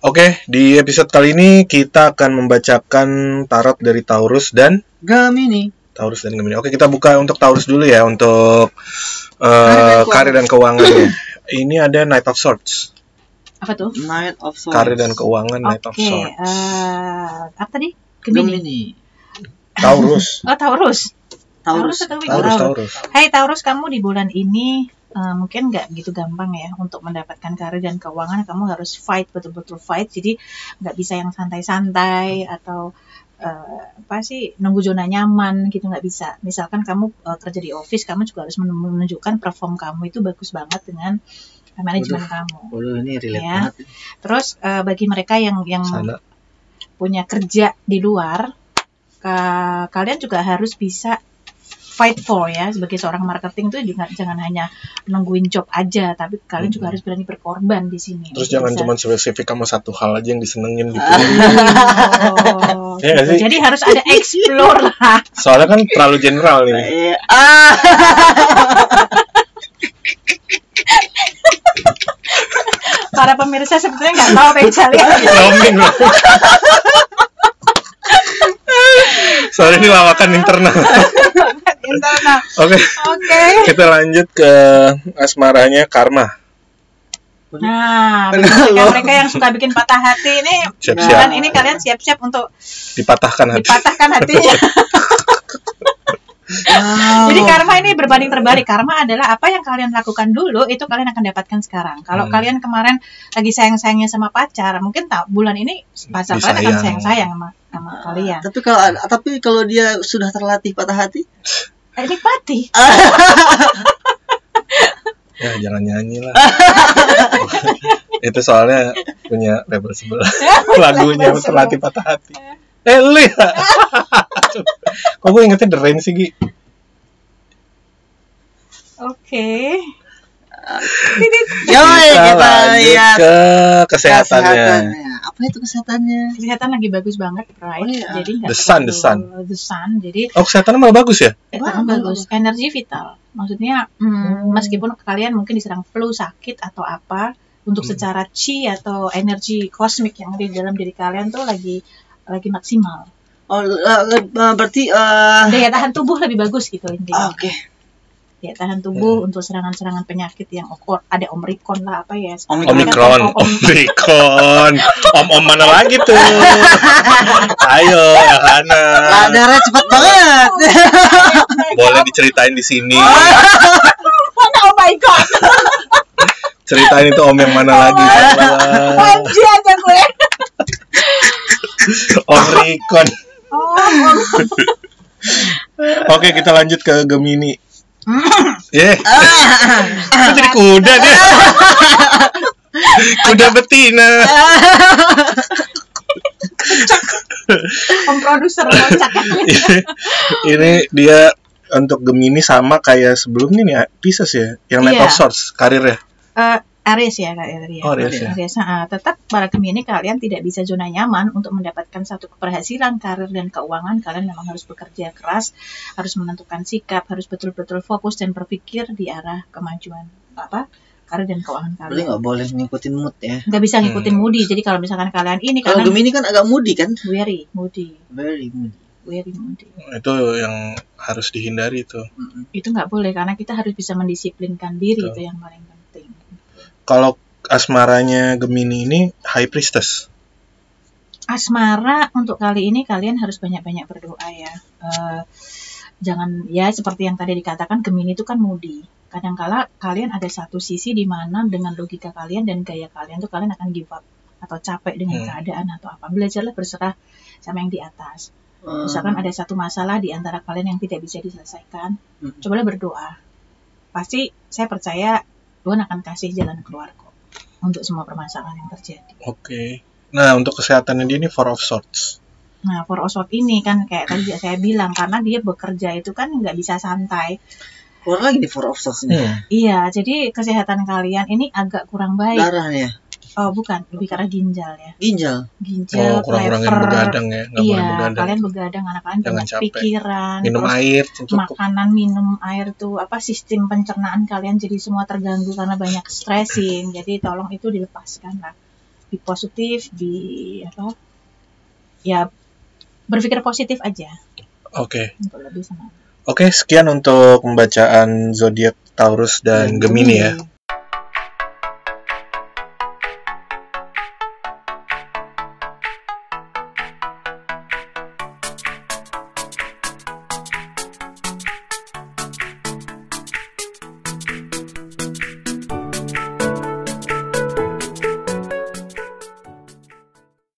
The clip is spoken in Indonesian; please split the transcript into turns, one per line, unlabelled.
Oke, di episode kali ini kita akan membacakan tarot dari Taurus dan
Gemini.
Taurus dan Gemini. Oke, kita buka untuk Taurus dulu ya untuk eh,
Karir
karir
dan
dan keuangannya. ini ada Knight of Swords,
apa tuh?
Knight of Swords.
karir dan keuangan Knight of
Oke,
Swords.
eh, apa tadi? Gemini.
Gemini.
Taurus,
Oh, Taurus. Taurus
Taurus.
atau Gemini?
Taurus,
Taurus.
Taurus.
Hai Taurus, kamu di bulan ini eh, mungkin nggak gitu gampang ya untuk mendapatkan karir dan keuangan. Kamu harus fight betul-betul fight. Jadi nggak bisa yang santai-santai atau eh, apa sih nunggu zona nyaman gitu nggak bisa. Misalkan kamu eh, kerja di office, kamu juga harus men- menunjukkan perform kamu itu bagus banget dengan eh, manajemen kamu.
Waduh Oh, ini relate
Ya.
banget.
Terus eh, bagi mereka yang yang
Sana.
punya kerja di luar, ka- kalian juga harus bisa fight for ya sebagai seorang marketing tuh juga jangan hanya nungguin job aja, tapi kalian juga
Mhm.
harus berani berkorban di sini.
Terus jangan cuma spesifik sama satu hal aja yang disenengin gitu.
Oh,
Iya nggak
gitu.
sih?
Jadi harus ada explore lah.
Soalnya kan terlalu general nih.
Eh, ah.
Para pemirsa sebetulnya nggak tahu apa yang saya lihat.
Ngomongin loh. Soalnya ini lawakan internal.
Internal.
Oke,
Oke.
kita lanjut ke asmaranya Karma.
Nah,
Kenal
bagi mereka,
lo.
mereka yang suka bikin patah hati ini,
Siap-siap.
bulan ini kalian siap-siap untuk
Dipatahkan hati.
dipatahkan hatinya.
Wow.
Jadi karma ini berbanding terbalik. Karma adalah apa yang kalian lakukan dulu itu kalian akan dapatkan sekarang. Kalau
Hmm.
kalian kemarin lagi sayang-sayangnya sama pacar, mungkin tak bulan ini pacar kalian akan
Disayang.
sayang-sayang sama,
Ah.
sama kalian.
Tapi kalau tapi kalau dia sudah terlatih patah hati,
Eh, nikmati.
Ah.
Ya, jangan nyanyi lah. Itu soalnya punya label sebelah. Lagunya
Label
terlatih patah hati. Eh, lu ya? Kok gue ingetnya The Rain sih, Gi?
Oke.
yoi
Kita
kita
lanjut
lihat
ke kesehatannya.
Apa itu kesehatannya?
Kesehatan lagi bagus banget, right?
Oh, iya.
Jadi nggak
The sun,
perlu-
the sun.
the sun. Jadi
Oh, kesehatannya malah bagus ya?
Kesehatan bagus, energi vital. Maksudnya, hmm, meskipun kalian mungkin diserang flu, sakit atau apa, untuk
Hmm.
secara chi atau energi kosmik yang ada di dalam diri kalian tuh lagi lagi maksimal.
Oh, eh, eh, berarti eh,
Daya tahan tubuh lebih bagus gitu intinya.
oke.
Daya tahan tubuh untuk serangan-serangan penyakit yang okor, ada omikron lah apa ya.
Omikron.
Omikron, Omikron, om-om mana lagi tuh? Ayo, Elhana,
Radarnya cepat banget.
boleh diceritain di sini.
Oh my god,
Ceritain itu om yang mana lagi? Salah.
anjir aja gue.
Omikron.
Oh, om.
Oke, kita lanjut ke Gemini. Yeah. Kok jadi kuda deh. Kuda betina.
om produser loncat.
Ini dia untuk Gemini sama kayak sebelumnya nih Pisces ya, yang Knight of
Iya.
Swords karirnya.
Eh, Aries ya Kak Aries.
Oh, Aries ya.
ah, tetap para Gemini kalian tidak bisa zona nyaman untuk mendapatkan satu keberhasilan karir dan keuangan. Kalian memang harus bekerja keras, harus menentukan sikap, harus betul-betul fokus dan berpikir di arah kemajuan apa karir dan keuangan
Berarti
kalian.
nggak boleh ngikutin mood ya.
Nggak bisa ngikutin
Hmm.
moody. Jadi kalau misalkan kalian ini
Kalau
kalian
Gemini kan agak moody kan?
weary, moody,
Very moody.
weary, moody.
Itu yang harus dihindari tuh.
Mm-mm.
Itu nggak boleh karena kita harus bisa mendisiplinkan diri
Betul.
itu yang paling penting.
Kalau asmaranya Gemini ini High Priestess.
asmara untuk kali ini kalian harus banyak-banyak berdoa ya. Eh, jangan ya seperti yang tadi dikatakan Gemini itu kan moody. Kadangkala kalian ada satu sisi di mana dengan logika kalian dan gaya kalian tuh kalian akan give up atau capek dengan
Hmm.
keadaan atau apa. Belajarlah berserah sama yang di atas.
Eh,
Misalkan ada satu masalah di antara kalian yang tidak bisa diselesaikan,
Mm-mm.
cobalah berdoa. Pasti saya percaya Tuhan akan kasih jalan keluar kok untuk semua permasalahan yang terjadi.
Oke. Nah, untuk kesehatannya dia ini Four of Swords.
Nah, for Oswald ini kan kayak tadi saya bilang karena dia bekerja itu kan nggak bisa santai.
Keluar lagi di Four of Swords nih.
Hmm.
Iya, jadi kesehatan kalian ini agak kurang baik.
Darahnya,
Oh, bukan, lebih karena ginjal ya.
ginjal.
Oh,
Ginjal,
kurang-kurangin
lever.
begadang ya, nggak
Iya,
boleh begadang.
kalian begadang anak kalian
Jangan
banyak
capek.
pikiran,
Minum
terus
air cukup.
makanan, minum air tuh apa sistem pencernaan kalian jadi semua terganggu karena banyak stressing. Jadi tolong itu dilepaskan lah. be positif be apa ya berpikir positif aja
Oke.
untuk lebih sama Iya,
Oke, sekian untuk pembacaan zodiak Taurus dan Gemini ya.